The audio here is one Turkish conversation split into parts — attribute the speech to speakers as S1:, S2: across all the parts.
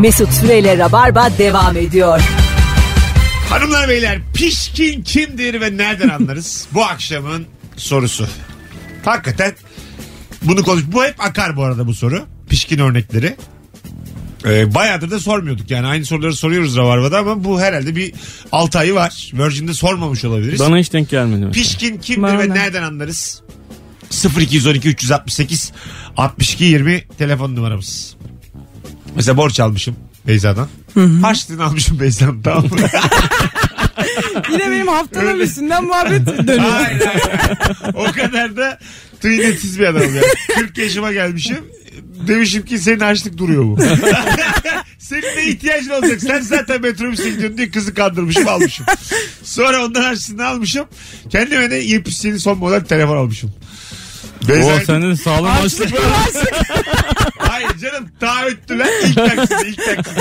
S1: Mesut Süreyle Rabarba devam ediyor.
S2: Hanımlar beyler pişkin kimdir ve nereden anlarız? bu akşamın sorusu. Hakikaten bunu konuş. Bu hep akar bu arada bu soru. Pişkin örnekleri. Ee, bayağıdır da sormuyorduk yani aynı soruları soruyoruz Rabarba'da ama bu herhalde bir 6 ayı var. Virgin'de sormamış olabiliriz.
S3: Bana hiç denk gelmedi. mesela.
S2: Pişkin kimdir
S1: Bana
S2: ve
S1: da.
S2: nereden anlarız? 0212 368 62 20 telefon numaramız. Mesela borç almışım Beyza'dan. Harçlığını almışım Beyza'dan tamam mı?
S4: Yine benim haftanın üstünden muhabbet dönüyor.
S2: Hayır, hayır, hayır. O kadar da tıynetsiz bir adamım ya. 40 yaşıma gelmişim. Demişim ki senin açlık duruyor bu. senin de ihtiyacın olacak. Sen zaten metrobüse gidiyorsun diye kızı kandırmışım almışım. Sonra ondan harçlığını almışım. Kendime de yepyeni son model telefon almışım. Benzer-
S3: Oo sende de sağlam açlık var.
S2: Hayır canım taahhüttüler ilk taksidi ilk taksidi.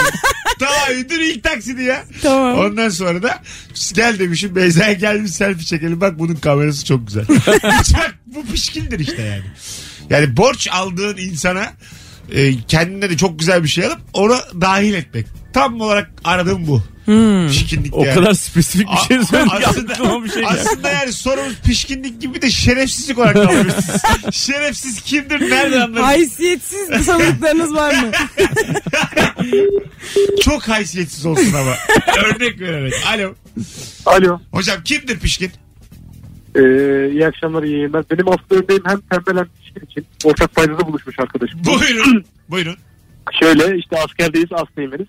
S2: Taahhüdün ilk taksidi ya.
S4: Tamam.
S2: Ondan sonra da gel demişim Beyza'ya gel bir selfie çekelim bak bunun kamerası çok güzel. bak bu pişkindir işte yani. Yani borç aldığın insana e, kendine de çok güzel bir şey alıp onu dahil etmek. Tam olarak aradığım bu. Pişkinlik
S3: O
S2: yani.
S3: kadar spesifik bir şey
S2: A-
S3: söyledi.
S2: aslında-
S3: Aklıma bir şey geldi.
S2: Aslında yani sorumuz pişkinlik gibi de şerefsizlik olarak da alabilirsiniz. Şerefsiz kimdir nereden anlarız?
S4: Haysiyetsiz sanıklarınız var mı?
S2: Çok haysiyetsiz olsun ama. Örnek vererek. Alo.
S5: Alo.
S2: Hocam kimdir pişkin?
S5: Ee, iyi akşamlar iyi yayınlar. Benim hafta örneğim hem tembel hem pişkin için ortak paydada buluşmuş arkadaşım.
S2: Buyurun. Buyurun.
S5: Şöyle işte askerdeyiz Aslı Yemen'iz.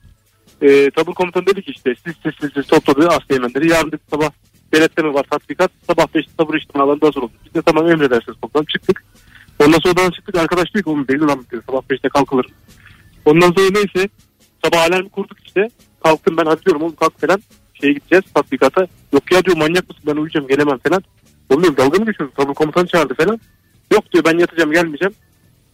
S5: Ee, tabur komutanı dedi ki işte siz siz siz, siz topladı Aslı Yemenleri. Yarın dedi sabah devlette mi var tatbikat? Sabah 5 tabur işlemi alanında hazır olun. Biz de tamam emredersiniz komutanım çıktık. Ondan sonra odadan çıktık arkadaş diyor ki oğlum deli lan diyor sabah 5'te kalkılır. Ondan sonra neyse sabah alarmı kurduk işte. Kalktım ben hadi diyorum oğlum kalk falan. Şeye gideceğiz tatbikata. Yok ya diyor manyak mısın ben uyuyacağım gelemem falan. Oğlum diyorum dalga mı geçiyorsun tabur komutanı çağırdı falan. Yok diyor ben yatacağım gelmeyeceğim.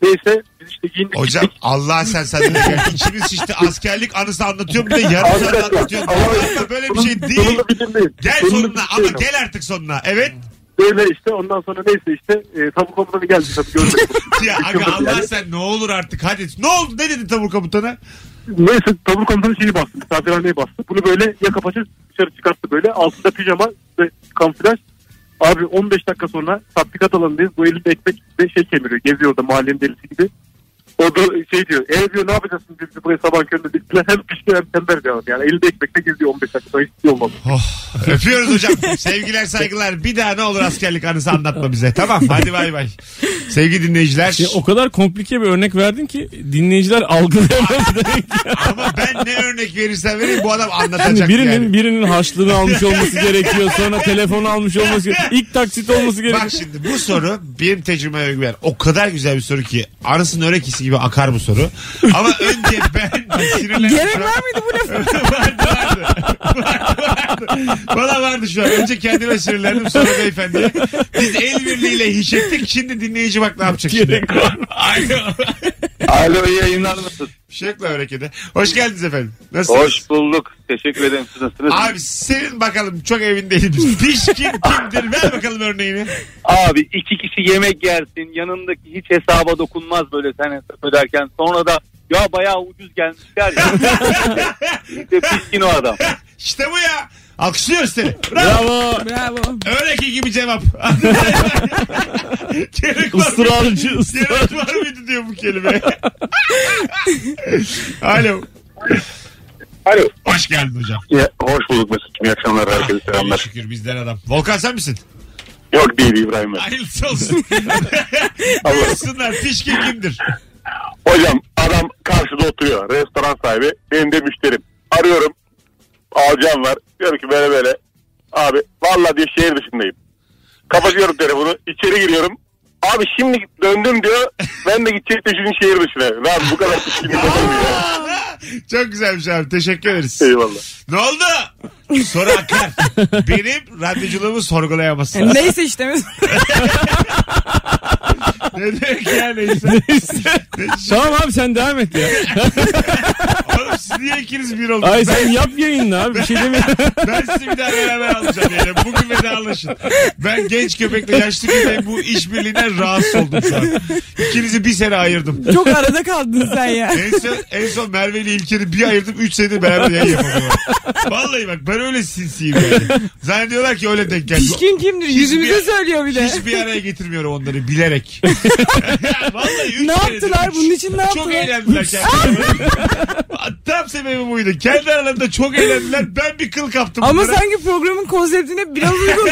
S5: Neyse biz işte giyindik
S2: Hocam
S5: gittik.
S2: Allah sen senden de gel. İçimiz şişti. Askerlik anısı anlatıyorum bir de yarım saat anlatıyorum. Vallahi böyle bir şey değil.
S5: Sonunda bitirmeyiz.
S2: Gel
S5: Sonunda
S2: sonuna ama
S5: bitirmeyiz.
S2: gel artık sonuna. Evet.
S5: Böyle işte ondan sonra neyse işte e, tabu komutanı geldi tabii gördük.
S2: Ya aga Allah sen ne olur artık hadi. Ne oldu ne dedi tabur komutanı?
S5: neyse tabu komutanı şeyi bastı misafirhaneye bastı. Bunu böyle yaka paça dışarı çıkarttı böyle altında pijama ve kamuflaj. Abi 15 dakika sonra tatbikat alanındayız. Bu elinde ekmek ve şey kemiriyor. Geziyor orada mahallenin delisi gibi. O da şey diyor. E diyor ne yapacaksın biz buraya sabah köründe diktiler. Hem pişti hem tembel diyor. Yani elinde ekmekle geziyor 15 dakika sonra hiç olmadı.
S2: Oh, öpüyoruz hocam. Sevgiler saygılar. Bir daha ne olur askerlik anısı anlatma bize. Tamam hadi bay bay. Sevgili dinleyiciler.
S3: Ya Şey, o kadar komplike bir örnek verdin ki dinleyiciler algılayamadı. demek ki.
S2: Ama ben ne örnek verirsem vereyim bu adam anlatacak
S3: Yani birinin
S2: yani.
S3: birinin harçlığını almış olması gerekiyor. Sonra telefonu almış olması gerekiyor. İlk taksit olması
S2: Bak
S3: gerekiyor.
S2: şimdi bu soru benim tecrübeme güven. O kadar güzel bir soru ki anasının örekisi gibi akar bu soru. Ama önce ben sinirlendim.
S4: Gerek var mıydı bu lafa?
S2: vardı vardı. Vardı vardı. Valla vardı şu an. Önce kendime sinirlendim sonra beyefendiye. Biz el birliğiyle hiç ettik. Şimdi dinleyici bak ne yapacak şimdi. Alo.
S6: Alo iyi yayınlar nasılsın?
S2: Şekla harekete. Hoş geldiniz efendim. Nasılsınız?
S6: Hoş bulduk. Teşekkür ederim. Siz nasılsınız?
S2: Abi senin bakalım çok evindeyim. Pişkin kimdir? Ver bakalım örneğini.
S6: Abi iki kişi yemek yersin. Yanındaki hiç hesaba dokunmaz böyle sen hesap öderken. Sonra da ya bayağı ucuz gelmişler ya. işte pişkin o adam.
S2: İşte bu ya. Alkışlıyoruz seni. Bravo.
S3: Bravo.
S4: Bravo.
S2: Öyle gibi cevap. Gerek var mıydı?
S3: Israrcı ısrar.
S2: Gerek var mıydı diyor bu kelime. Alo.
S5: Alo.
S2: Hoş geldin hocam.
S5: Ya, hoş bulduk Mesut'cum. İyi akşamlar. Herkese
S2: Allah şükür bizden adam. Volkan sen misin?
S5: Yok değil İbrahim Bey.
S2: Hayırlısı olsun. Buyursunlar. Pişkin kimdir?
S5: Hocam adam karşıda oturuyor. Restoran sahibi. Benim de müşterim. Arıyorum. Alacağım var. Diyorum ki böyle böyle. Abi valla diyor şehir dışındayım. Kapatıyorum telefonu. içeri giriyorum. Abi şimdi döndüm diyor. Ben de gidecek düşünün şehir dışına. Lan bu kadar pişkinlik olmuyor. ya.
S2: Çok güzelmiş abi. Teşekkür ederiz.
S5: Eyvallah.
S2: Ne oldu? Soru akar. Benim radyoculuğumu sorgulayamazsın.
S4: Neyse işte.
S2: ne demek ya neyse.
S3: tamam abi sen devam et ya.
S2: Oğlum siz niye ikiniz bir oldunuz?
S3: Ay sen yap yayınla abi bir şey demiyorum.
S2: Ben sizi bir daha beraber alacağım yani. Bugün vedalaşın. Ben genç köpekle yaşlı köpeğin bu işbirliğinden rahatsız oldum şu an. İkinizi bir sene ayırdım.
S4: Çok arada kaldın sen ya.
S2: En son, en son Merve ile İlker'i bir ayırdım. Üç senedir beraber yayın yapamıyorum. Vallahi bak ben öyle sinsiyim yani. Zannediyorlar ki öyle denk geldi.
S4: Pişkin kimdir? Yüzümüze
S2: Hiçbir-
S4: söylüyor bir de.
S2: Hiçbir araya getirmiyorum onları bilerek. Vallahi üç
S4: Ne
S2: senedir-
S4: yaptılar? Bunun için ne
S2: Çok
S4: yaptılar?
S2: eğlendiler kendileri. Tam sebebi buydu. Kendi aralarında çok eğlendiler. Ben bir kıl kaptım.
S4: Ama
S2: bunlara.
S4: sanki programın konseptine biraz uygun.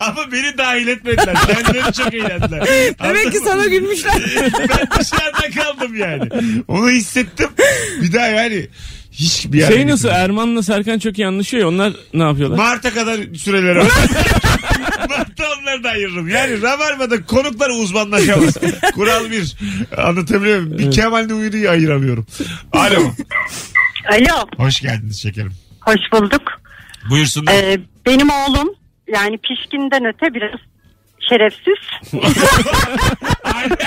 S2: Ama beni dahil etmediler. Kendileri çok eğlendiler. Anladın
S4: Demek ki
S2: mı?
S4: sana gülmüşler.
S2: ben dışarıda kaldım yani. Onu hissettim. Bir daha yani hiçbir yere
S3: Şey nasıl
S2: gitmedim.
S3: Erman'la Serkan çok iyi anlaşıyor ya, onlar ne yapıyorlar?
S2: Mart'a kadar süreleri var. Mart'ta onları da ayırırım. Yani Rabarba'da konuklar uzmanlaşamaz. Kural bir. Anlatabiliyor muyum? Bir Kemal'le Uyuru'yu ayıramıyorum. Alo.
S7: Alo,
S2: Hoş geldiniz şekerim.
S7: hoş bulduk.
S2: Buyursunlar.
S7: Ee, benim oğlum yani pişkinden öte biraz şerefsiz.
S2: anne,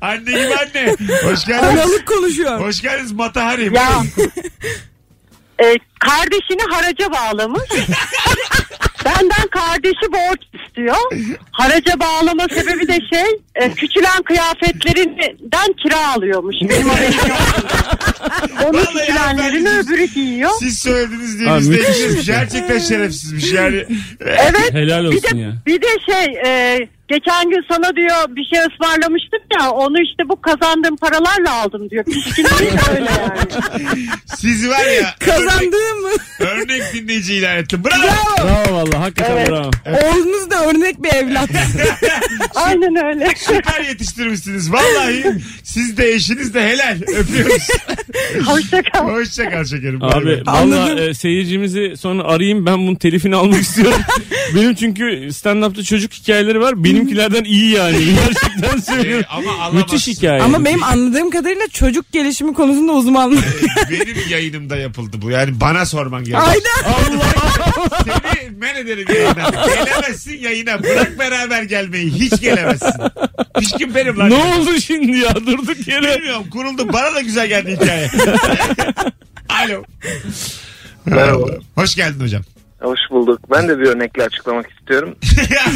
S2: anne gibi anne. Hoş geldiniz.
S4: Aralık konuşuyor.
S2: Hoş geldiniz Matahari.
S7: Ya e, kardeşini haraca bağlamış. Benden kardeşi borç istiyor. Haraca bağlama sebebi de şey e, küçülen kıyafetlerinden kira alıyormuş. Benim haberim yok. Onun
S2: Vallahi
S7: küçülenlerini
S2: hanımefendi-
S7: öbürü giyiyor.
S2: Siz söylediniz diye
S3: Abi
S2: biz de
S3: müthiş.
S2: ekleyeceğiz. Gerçekten şerefsizmiş yani.
S7: şey. Evet.
S3: Helal
S7: Bir
S3: olsun
S7: de,
S3: ya.
S7: bir de şey e, geçen gün sana diyor bir şey ısmarlamıştım ya onu işte bu kazandığım paralarla aldım diyor. Pişkinliği de öyle yani.
S2: Siz var ya
S4: Kazandığım mı?
S2: örnek dinleyici ilan ettim. Bravo.
S3: Bravo valla hakikaten
S7: Evet.
S3: bravo.
S4: Oğlunuz da örnek bir evlat.
S7: Aynen öyle.
S2: Süper yetiştirmişsiniz. Vallahi siz de eşiniz de helal. Öpüyoruz.
S7: Hoşçakal.
S2: Hoşça kal şekerim. Bay
S3: Abi
S2: bay.
S3: valla
S4: Anladım.
S3: e, seyircimizi sonra arayayım ben bunun telifini almak istiyorum. Benim çünkü stand-up'ta çocuk hikayeleri var. Benimkilerden iyi yani.
S4: E,
S3: Gerçekten
S2: Ee,
S3: söylüyorum.
S2: ama alamazsın.
S3: Müthiş hikaye.
S4: Ama benim anladığım kadarıyla çocuk gelişimi konusunda uzmanlık.
S2: Benim yayınımda yapıldı bu. Yani bana sorman gerekiyor.
S4: Aynen.
S2: Seni men ederim yayına. Gelemezsin yayına. Bırak beraber gelmeyi. Hiç gelemezsin. Pişkin benim lan.
S3: Ne oldu şimdi ya durduk yere.
S2: Bilmiyorum kuruldu. Bana da güzel geldi hikaye. Alo.
S8: Merhaba.
S2: Hoş geldin hocam.
S8: Hoş bulduk. Ben de bir örnekle açıklamak istiyorum.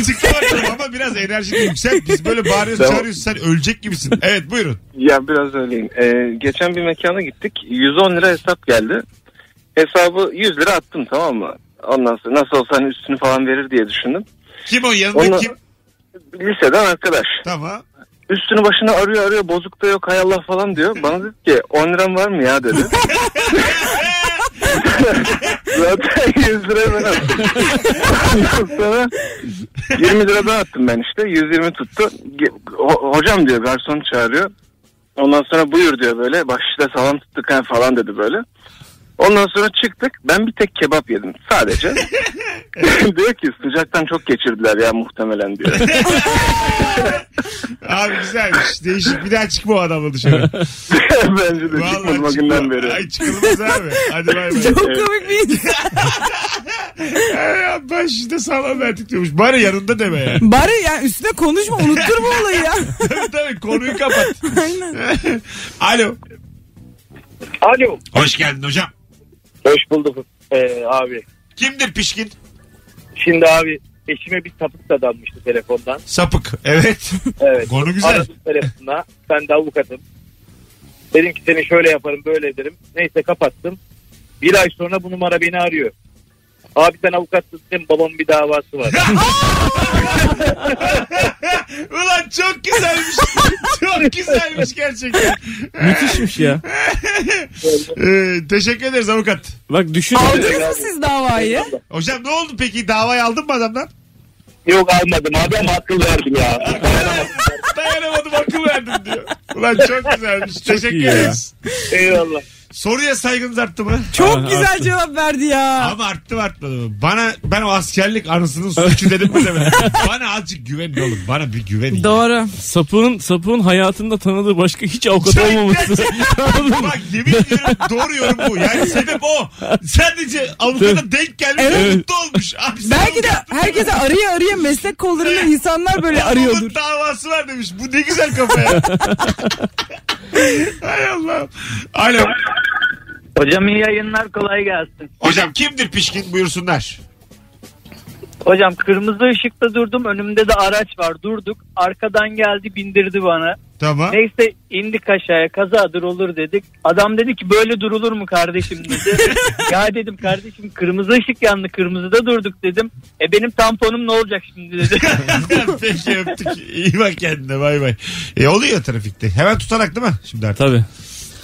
S2: Açıklamadım ama biraz enerjini yükselt. Biz böyle bağırıyoruz
S8: Tamam.
S2: çağırıyoruz sen ölecek gibisin. Evet buyurun.
S8: Ya biraz öyleyim. Ee, geçen bir mekana gittik. 110 lira hesap geldi. Hesabı 100 lira attım tamam mı? Ondan sonra nasıl olsa hani üstünü falan verir diye düşündüm.
S2: Kim o yanında
S8: Onu-
S2: kim?
S8: Liseden arkadaş.
S2: Tamam.
S8: Üstünü başını arıyor arıyor bozuk da yok hay Allah falan diyor. Bana dedi ki 10 liram var mı ya dedi. Zaten 100 lira ben attım. Sonra 20 lira ben attım ben işte. 120 tuttu. Ge- ho- hocam diyor garson çağırıyor. Ondan sonra buyur diyor böyle. Başta salam tuttuk ha falan dedi böyle. Ondan sonra çıktık. Ben bir tek kebap yedim sadece. diyor ki sıcaktan çok geçirdiler ya muhtemelen diyor.
S2: Abi güzelmiş. Değişik bir daha çıkma o adamla dışarı.
S8: Bence de çıkmadım o
S2: Vallahi
S8: günden beri.
S2: çıkma. Ay çıkılmaz abi. Hadi bay bay.
S4: Çok komik bir insan.
S2: Ay, Ee, Ben şimdi sağlam verdik diyormuş. Bari yanında deme yani.
S4: Bari yani üstüne konuşma unutturma olayı ya.
S2: tabii tabii konuyu kapat. Alo.
S5: Alo.
S2: Hoş geldin hocam.
S5: Hoş bulduk ee, abi.
S2: Kimdir pişkin?
S5: Şimdi abi eşime bir sapık dadanmıştı telefondan.
S2: Sapık. Evet.
S5: Evet.
S2: Konu güzel.
S5: Aradım telefonuna. Ben de avukatım. Dedim ki seni şöyle yaparım böyle ederim. Neyse kapattım. Bir ay sonra bu numara beni arıyor. Abi sen avukatsın senin babamın bir davası var.
S2: Ulan çok güzelmiş. çok güzelmiş gerçekten.
S3: Müthişmiş ya.
S2: Ee, teşekkür ederiz avukat.
S3: Bak düşün.
S4: Aldınız mı siz davayı?
S2: Hocam ne oldu peki? Davayı aldın mı adamdan?
S5: Yok almadım abi ama akıl verdim ya.
S2: Dayanamadım akıl verdim diyor. Ulan çok güzelmiş.
S3: iyi
S2: Teşekkür
S3: ya.
S2: ederiz.
S5: Eyvallah.
S2: Soruya saygınız arttı mı?
S4: Çok
S3: Aha,
S4: güzel cevap verdi ya.
S2: Ama arttı mı artmadı mı? Bana ben o askerlik anısının suçu dedim mi demedim. Bana azıcık güvenin oğlum. Bana bir güvenin.
S4: Doğru.
S3: Sapığın, sapığın hayatında tanıdığı başka hiç avukat olmaması. Anladın mı?
S2: Bak yemin ediyorum doğru yorum bu. Yani sebep o. Sadece avukata denk gelmiş
S3: Evet.
S2: mutlu olmuş. Abi sen
S4: Belki de
S2: avukat-
S4: herkese araya araya meslek kollarında insanlar böyle arıyordur.
S2: Babamın davası var demiş. Bu ne güzel kafa ya. Hay Allah. Alo.
S6: Hocam iyi yayınlar kolay gelsin.
S2: Hocam kimdir pişkin buyursunlar.
S6: Hocam kırmızı ışıkta durdum önümde de araç var durduk. Arkadan geldi bindirdi bana.
S2: Tamam.
S6: Neyse indik aşağıya kazadır olur dedik. Adam dedi ki böyle durulur mu kardeşim dedi. ya dedim kardeşim kırmızı ışık yandı kırmızıda durduk dedim. E benim tamponum ne olacak şimdi dedi.
S2: Peki öptük. İyi bak kendine bay bay. E, oluyor trafikte. Hemen tutarak değil mi? Şimdi artık.
S3: Tabii.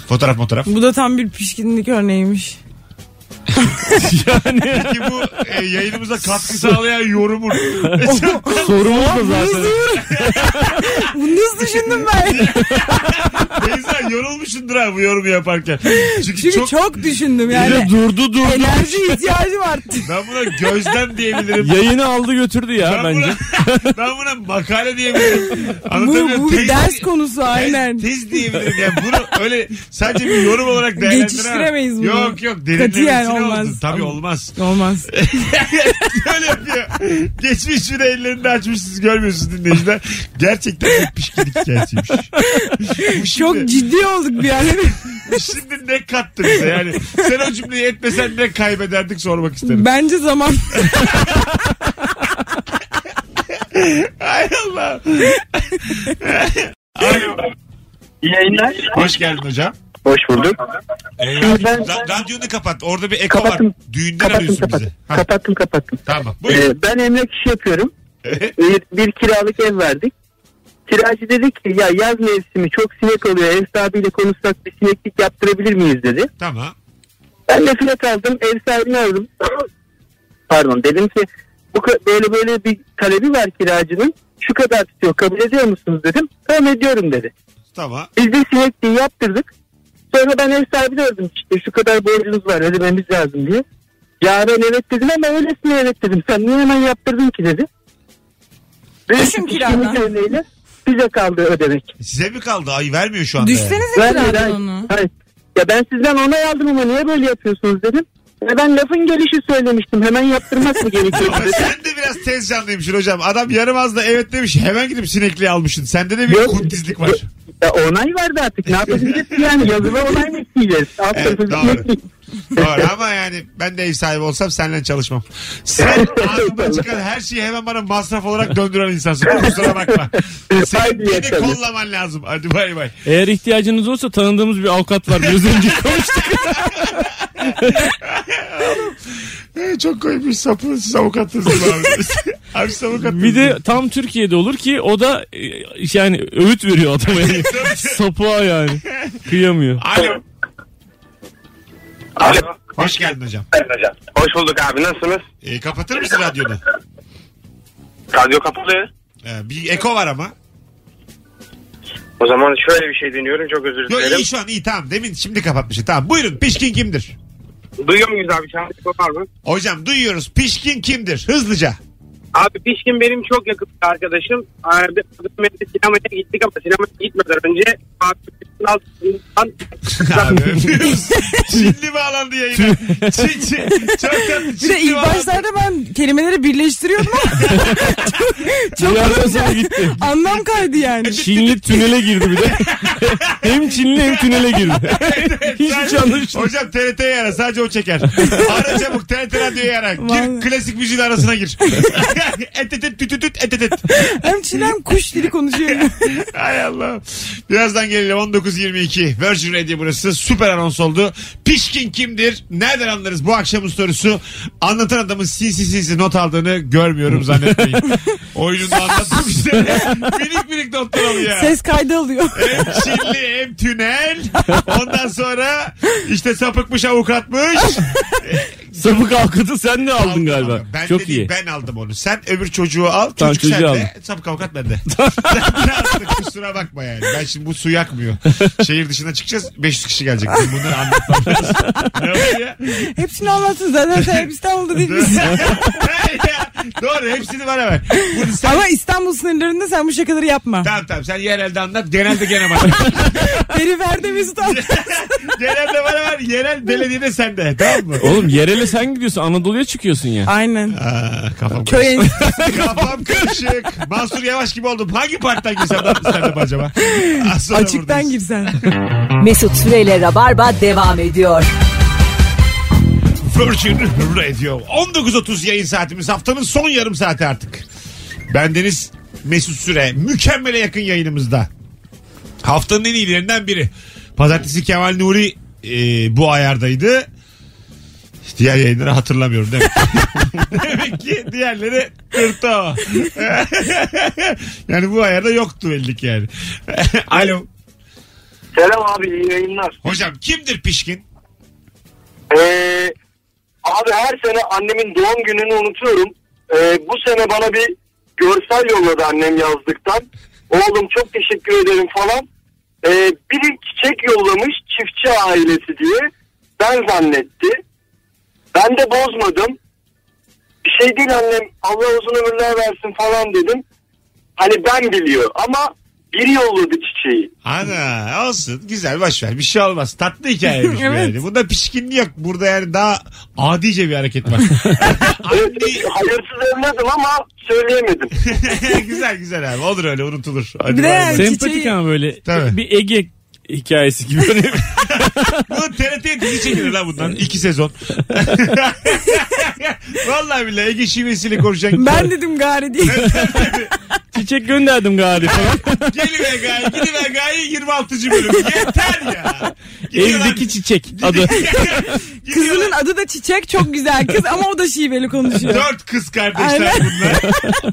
S2: Fotoğraf fotoğraf.
S4: Bu da tam bir pişkinlik örneğiymiş.
S3: Yani
S2: Ki bu e, yayınımıza katkı sağlayan yorumun.
S3: sorumuz da zaten.
S4: Bunu nasıl düşündüm ben?
S2: Beyza yorulmuşsundur ha bu yorumu yaparken. Çünkü,
S4: Çünkü
S2: çok...
S4: çok, düşündüm
S3: Bir de
S4: yani.
S3: durdu durdu.
S4: Enerji ihtiyacım arttı.
S2: Ben buna gözlem diyebilirim.
S3: Yayını aldı götürdü ya
S2: Ben
S3: bence.
S2: buna, ben buna makale diyebilirim.
S4: Bu,
S2: Anlatabiliyor
S4: bu
S2: muyum?
S4: bir
S2: Tez-
S4: ders konusu aynen.
S2: Tez, tez diyebilirim. Yani bunu öyle sadece bir yorum olarak değerlendiremem.
S4: Geçiştiremeyiz bunu.
S2: Yok yok.
S4: Katiyen
S2: Derinlemesine
S4: olmaz.
S2: olmaz. Tabii olmaz.
S4: Olmaz.
S2: Böyle yapıyor. Geçmiş bir de ellerini açmış siz görmüyorsunuz dinleyiciler. Gerçekten bir pişkinlik hikayesiymiş. Bu
S4: Çok
S2: şimdi-
S4: ciddi olduk bir an.
S2: Şimdi ne kattı bize yani? Sen o cümleyi etmesen ne kaybederdik sormak isterim.
S4: Bence zaman
S2: Ay Allah. Alo.
S6: İyi yayınlar.
S2: Hoş geldin hocam.
S8: Hoş bulduk.
S2: Ee,
S8: Şimdi ben-
S2: ra- radyonu kapat. Orada bir eko
S8: Kapattım.
S2: var. Düğünden
S8: Kapattım
S2: arıyorsun
S8: kapattım.
S2: bizi. Ha,
S8: Kapattım kapattım.
S2: tamam. Buyur.
S8: Ee, ben emlak işi yapıyorum.
S2: Evet.
S8: Bir, bir kiralık ev verdik. Kiracı dedi ki ya yaz mevsimi çok sinek oluyor. Ev sahibiyle konuşsak bir sineklik yaptırabilir miyiz dedi.
S2: tamam.
S8: Ben de fiyat aldım. Ev sahibini aldım. Pardon dedim ki bu ka- böyle böyle bir talebi var kiracının. Şu kadar tutuyor. Kabul ediyor musunuz dedim. Tamam ediyorum dedi.
S2: Tamam.
S8: Biz de sinekliği yaptırdık. Sonra ben ev sahibi ördüm işte şu kadar borcunuz var ödememiz lazım diye. Ya ben evet dedim ama öylesine evet dedim. Sen niye hemen yaptırdın ki dedi.
S4: Düşün kiradan.
S8: kiradan. örneğiyle size kaldı ödemek.
S2: Size mi kaldı? Ay vermiyor şu anda. yani.
S4: düşsenize
S8: Ben
S4: kiradan
S8: hayır,
S4: onu.
S8: hayır. Ya ben sizden onay aldım ama niye böyle yapıyorsunuz dedim. Ya ben lafın gelişi söylemiştim. Hemen yaptırmak mı gerekiyor
S2: Ama
S8: dedi.
S2: sen de biraz tez canlıymışsın hocam. Adam yarım az da evet demiş. Hemen gidip sinekliği almışsın. Sende de bir
S8: Yok.
S2: kuntizlik var.
S8: Ya onay vardı artık. Ne yapacağız ki yani? Yazılı onay mı isteyeceğiz? Alt
S2: Evet,
S8: tarafı
S2: doğru.
S8: sineklik.
S2: Doğru ama yani ben de ev sahibi olsam seninle çalışmam. Sen ağzından çıkan her şeyi hemen bana masraf olarak döndüren insansın. Kusura bakma. Senin
S8: Haydi
S2: beni
S8: yaşa.
S2: kollaman lazım. Hadi bay bay.
S3: Eğer ihtiyacınız olsa tanıdığımız bir avukat var. Biraz önce konuştuk.
S2: Ee, çok koymuş sapı. Siz avukatsınız değil mi abi. abi siz avukatsınız.
S3: Bir de tam Türkiye'de olur ki o da e, yani öğüt veriyor adama. Yani. Sapığa yani. Kıyamıyor.
S2: Alo.
S8: Alo.
S2: Hoş geldin hocam.
S8: Hoş bulduk abi. Nasılsınız?
S2: Ee, kapatır mısın radyonu?
S8: Radyo kapalı.
S2: Ee, bir eko var ama.
S8: O zaman şöyle bir şey deniyorum çok özür
S2: Yok
S8: dilerim.
S2: iyi şu an iyi tamam. Demin şimdi kapatmışsın. Tamam buyurun pişkin kimdir?
S8: Duyuyor muyuz abi şu an? Kopar mı?
S2: Hocam duyuyoruz. Pişkin kimdir? Hızlıca.
S8: Abi Pişkin benim çok yakın bir arkadaşım. Abi, sinemaya gittik ama sinemaya gitmeden önce abi Pişkin'in altından
S2: Abi öpüyoruz. Çinli bağlandı yayına. Çin, Çin, çok tatlı
S4: Bir de
S2: Çinli
S4: ilk
S2: bağlandı.
S4: başlarda ben kelimeleri birleştiriyordum ama çok,
S3: Bir
S4: çok
S3: yerden
S4: olunca
S3: sonra gitti.
S4: anlam kaydı yani.
S3: Çinli tünele girdi bir de. hem Çinli hem tünele girdi. Hiç
S4: şey
S3: yanlış.
S2: Hocam TRT'ye ara sadece o çeker. Ara çabuk TRT radyoya ara. Gir
S4: Vallahi.
S2: klasik müziğin arasına gir. et et et tüt tüt tüt, et et et.
S4: Hem Çin hem kuş dili konuşuyor.
S2: Hay Allah. Birazdan gelelim 19.22. Virgin Radio burası. Süper anons oldu. Pişkin kimdir? Nereden anlarız bu akşamın sorusu? Anlatan adamın sinsi sinsi not aldığını görmüyorum zannetmeyin. Oyununda anlatmış işte. minik minik notlar alıyor. ya.
S4: Ses kaydı alıyor.
S2: Hem çilli hem tünel. Ondan sonra işte sapıkmış avukatmış.
S3: Sapık avukatı sen de aldın galiba.
S2: Ben
S3: Çok
S2: de değil,
S3: iyi.
S2: Ben aldım onu. Sen öbür çocuğu al.
S3: Tamam,
S2: çocuk
S3: çocuğu
S2: sende. Sapık avukat bende. Artık kusura bakma yani. Ben şimdi bu su yakmıyor. Şehir dışına çıkacağız. 500 kişi gelecek. Benim Bunları anlatmam lazım. ne var ya?
S4: Hepsini anlatsın zaten sen hep İstanbul'da değil misin?
S2: Doğru hepsini bana ver. Bunu sen...
S4: Ama İstanbul sınırlarında sen bu şakaları yapma.
S2: Tamam tamam sen yerelde anlat. Genelde gene bana. ver.
S4: Periferde Mesut abi.
S2: genelde bana ver. Yerel belediyede sende. Tamam mı?
S3: Oğlum yerele sen gidiyorsun Anadolu'ya çıkıyorsun ya.
S4: Aynen.
S2: Aa, kafam
S4: Köy enstitüsü.
S2: Kafam karışık. Mansur Yavaş gibi oldum. Hangi partiden girsem lan stand-up acaba? Az sonra
S4: Açıktan
S2: buradayız.
S4: girsen.
S1: Mesut Süreyle Rabarba devam ediyor.
S2: Virgin Radio. 19.30 yayın saatimiz haftanın son yarım saati artık. Bendeniz Mesut Süre mükemmele yakın yayınımızda. Haftanın en iyilerinden biri. Pazartesi Kemal Nuri e, bu ayardaydı. Diğer yayınları hatırlamıyorum demek. demek ki diğerleri tırtı o. yani bu ayarda yoktu belli ki yani. Alo.
S5: Selam abi iyi yayınlar.
S2: Hocam kimdir pişkin?
S5: Ee, abi her sene annemin doğum gününü unutuyorum. Ee, bu sene bana bir görsel yolladı annem yazdıktan. Oğlum çok teşekkür ederim falan. Ee, biri çiçek yollamış çiftçi ailesi diye. Ben zannetti. Ben de bozmadım. Bir şey değil annem Allah uzun ömürler versin falan dedim. Hani ben biliyor ama biri yolladı çiçeği.
S2: Ana olsun güzel başver bir şey olmaz tatlı hikayeymiş bu
S4: Evet.
S2: yani. Bunda pişkinliği yok burada yani daha adice bir hareket var.
S5: Evet, hayırsız evladım ama söyleyemedim.
S2: güzel güzel abi olur öyle unutulur. Hadi
S4: Bir de
S2: bay bay.
S4: yani
S3: Sempatik
S4: çiçeği-
S3: ama böyle
S2: Tabii.
S3: bir Ege hikayesi gibi. Böyle
S2: Bu TRT'ye dizi çekilir lan bundan iki sezon. Vallahi billahi Ege şivesiyle konuşacak. şey
S4: Ben dedim gari diye.
S3: çiçek gönderdim galiba.
S2: Geliver gayi gidiver gayi 26. bölüm yeter ya. Gidiyorlar-
S3: Evdeki çiçek adı.
S4: Kızının
S2: Gidiyorlar-
S4: adı da Çiçek çok güzel kız ama o da şiveli konuşuyor.
S2: Dört kız kardeşler
S4: Aynen.
S2: bunlar.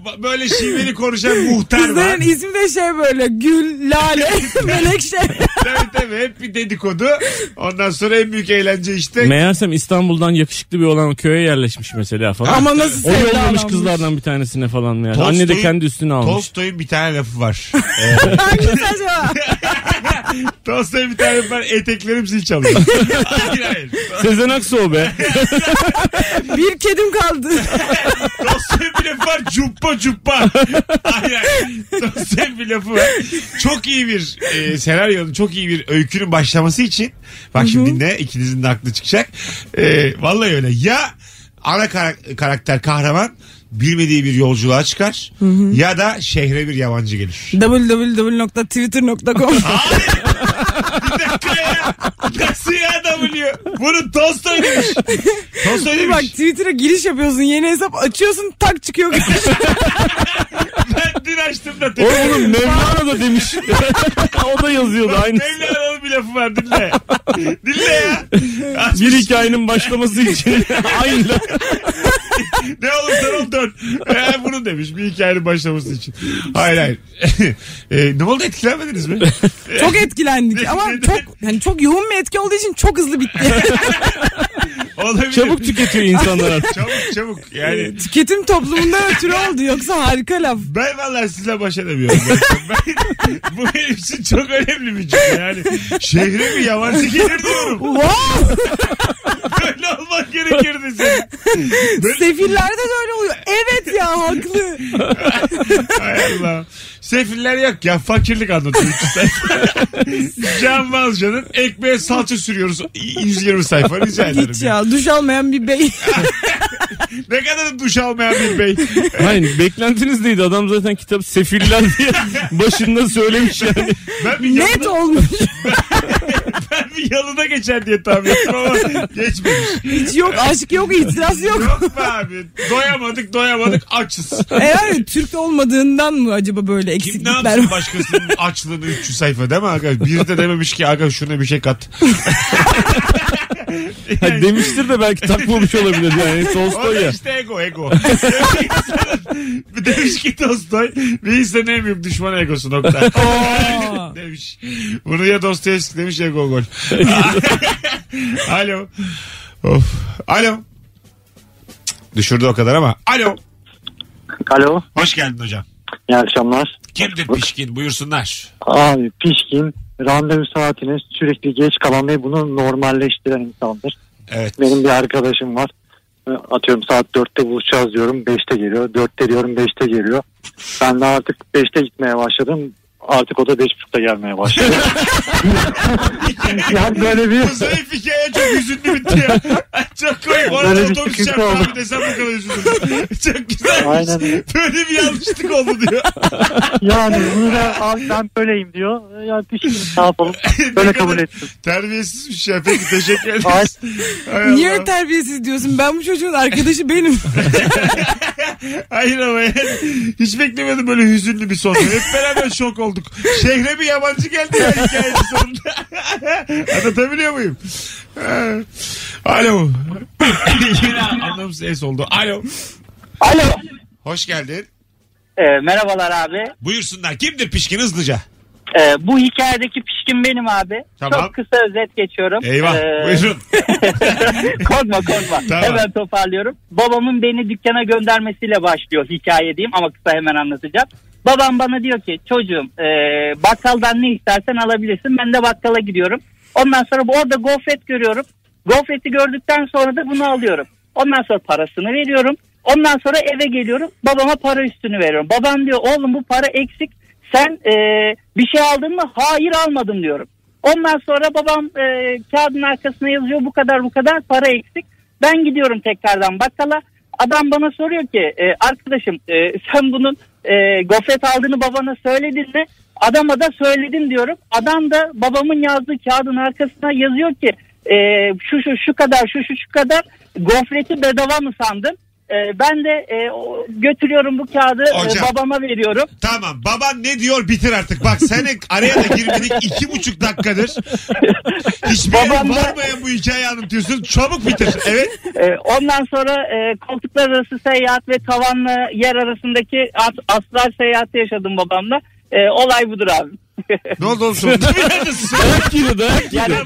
S2: Ba- Böyle şiveli konuşan muhtar var.
S4: Kızların ismi de şey böyle Gül, Lale, Melekşe.
S2: şey. tabii tabii hep bir dedikodu. Ondan sonra en büyük eğlence işte.
S3: Meğersem İstanbul'dan yakışıklı bir olan köye yerleşmiş mesela falan.
S4: Ama nasıl
S3: o yollamış
S4: sevdalanmış.
S3: kızlardan bir tanesine falan yani.
S2: Tolstoy'un-
S3: Anne de kendi üstüne almış.
S2: Tolstoy'un bir tane lafı var.
S4: Hangisi acaba?
S2: Tolstoy'un bir tane lafı var. Eteklerim zil çalıyor. hayır hayır.
S3: Sezen Aksu o be.
S4: Bir kedim kaldı.
S2: Tolstoy'un bir lafı var. Cuppa cuppa. Hayır hayır. Tolstoy'un bir lafı var. Çok iyi bir e, senaryonun, çok iyi bir öykünün başlaması için. Bak şimdi ne? ikinizin de aklı çıkacak. E, vallahi öyle. Ya ana kara- karakter kahraman bilmediği bir yolculuğa çıkar ya da şehre bir yabancı gelir.
S4: www.twitter.com
S2: Bir dakika ya. Nasıl ya W? Bunu Tolstoy demiş. Tolstoy
S4: Bir Bak
S2: demiş.
S4: Twitter'a giriş yapıyorsun yeni hesap açıyorsun tak çıkıyor.
S2: Ben dün açtım da.
S3: O oğlum Mevlana da demiş. o da yazıyordu aynı.
S2: Mevlana'nın bir lafı var dinle. dinle ya.
S3: Bir hikayenin başlaması için aynı.
S2: Ne olursan ol dön. Ee, bunu demiş bir hikayenin başlaması için. Hayır hayır. Ee, ne oldu etkilenmediniz mi?
S4: Çok etkilendik ama çok yani çok yoğun bir etki olduğu için çok hızlı bitti.
S2: Olabilir.
S3: Çabuk tüketiyor insanlar artık.
S2: Çabuk çabuk yani.
S4: Tüketim toplumunda ötürü oldu yoksa harika laf.
S2: Ben vallahi sizinle baş edemiyorum. Ben, bu benim için çok önemli bir cümle yani. Şehre mi yabancı gelir diyorum.
S4: Wow!
S2: Böyle olmak gerekirdi senin.
S4: Sefillerde de öyle oluyor. Evet ya haklı.
S2: Hay Allah. Sefiller yok ya. Fakirlik anlatıyor. iki sayfa. Can Balcan'ın ekmeğe salça sürüyoruz. 120 sayfa rica ederim.
S4: Hiç
S2: ya.
S4: ya duş almayan bir bey.
S2: Ne kadar duş almayan bir bey.
S3: Hayır beklentiniz neydi? Adam zaten kitap sefiller diye başında söylemiş yani.
S2: Ben bir,
S4: Net
S2: yalına,
S4: olmuş.
S2: ben bir yalına geçer diye tahmin ettim ama geçmemiş.
S4: Hiç yok aşk yok itiraz yok.
S2: Yok be abi. Doyamadık doyamadık açız.
S4: Eğer Türk olmadığından mı acaba böyle
S2: Kim ne
S4: eksiklikler
S2: yapsın
S4: var?
S2: başkasının açlığını 300 sayfa değil mi aga? Bir de dememiş ki aga şuna bir şey kat.
S3: Ha, demiştir de belki takmamış olabilir yani.
S2: O
S3: Tolstoy
S2: da
S3: ya.
S2: işte ego ego. Bir demiş ki Tolstoy bir insanın en büyük düşmanı egosu nokta.
S4: Aa.
S2: demiş. Bunu ya Dostoyevski demiş ya Gogol. Alo. Of. Alo. Düşürdü o kadar ama. Alo.
S5: Alo.
S2: Hoş geldin hocam.
S5: İyi akşamlar.
S2: Kimdir pişkin buyursunlar.
S5: Abi pişkin randevu saatine sürekli geç kalan ve bunu normalleştiren insandır.
S2: Evet.
S5: Benim bir arkadaşım var. E, Atıyorum saat 4'te buluşacağız diyorum. 5'te geliyor. 4'te diyorum 5'te geliyor. Ben de artık 5'te gitmeye başladım. Artık o da 5.30'da gelmeye başladı. yani böyle bir...
S2: Bu zayıf hikaye çok hüzünlü bitti ya. çok komik. Orada
S5: Böyle bir
S2: otobüs
S5: sıkıntı
S2: çarptı
S5: oldu.
S2: abi desem bu kadar üzülürüm. çok güzel.
S5: Aynen öyle.
S2: Böyle bir yanlışlık oldu diyor.
S5: Yani bunu da abi ben böyleyim diyor. Yani pişkin ne yapalım.
S2: Ne kadar
S5: Böyle kabul ettim.
S2: Terbiyesiz bir şey. Peki teşekkür
S5: Ay.
S2: ederiz. Hay
S4: Niye
S2: Allah.
S4: terbiyesiz diyorsun? Ben bu çocuğun arkadaşı benim.
S2: Hayır ama yani hiç beklemedim böyle hüzünlü bir son. Hep beraber şok olduk. Şehre bir yabancı geldi ya hikayenin sonunda. Anlatabiliyor muyum? Ha. Alo. Yine anlamsız es oldu. Alo.
S6: Alo. E,
S2: Hoş geldin.
S6: merhabalar abi.
S2: Buyursunlar. Kimdir pişkin hızlıca?
S6: Ee, bu hikayedeki pişkin benim abi.
S2: Tamam.
S6: Çok kısa özet geçiyorum.
S2: Eyvah.
S6: Ee,
S2: Buyurun.
S6: korkma korkma.
S2: Tamam.
S6: Hemen toparlıyorum. Babamın beni dükkana göndermesiyle başlıyor hikaye diyeyim ama kısa hemen anlatacağım. Babam bana diyor ki çocuğum e, bakkaldan ne istersen alabilirsin. Ben de bakkala gidiyorum. Ondan sonra bu- orada gofret görüyorum. Gofreti gördükten sonra da bunu alıyorum. Ondan sonra parasını veriyorum. Ondan sonra eve geliyorum. Babama para üstünü veriyorum. Babam diyor oğlum bu para eksik. Sen e, bir şey aldın mı? Hayır almadım diyorum. Ondan sonra babam e, kağıdın arkasına yazıyor bu kadar bu kadar para eksik. Ben gidiyorum tekrardan bakkala. Adam bana soruyor ki e, arkadaşım e, sen bunun e, gofret aldığını babana söyledin mi? Adama da söyledim diyorum. Adam da babamın yazdığı kağıdın arkasına yazıyor ki e, şu şu şu kadar şu şu şu kadar gofreti bedava mı sandın? E, ben de e, o- götürüyorum bu kağıdı e,
S2: Hocam.
S6: babama veriyorum.
S2: Tamam baban ne diyor bitir artık. Bak sen araya da girmedik iki buçuk dakikadır. Hiçbir yere
S6: Babam da-
S2: varmayan bu hikayeyi anlatıyorsun. Çabuk bitir. Evet.
S6: Ee, ondan sonra e, koltuklar arası seyahat ve tavanla yer arasındaki as- aslar seyahati yaşadım babamla. Ee, olay budur abi.
S2: Ne oldu oğlum sonunda bir yerde söyle.
S3: Dayak yedi dayak yedi.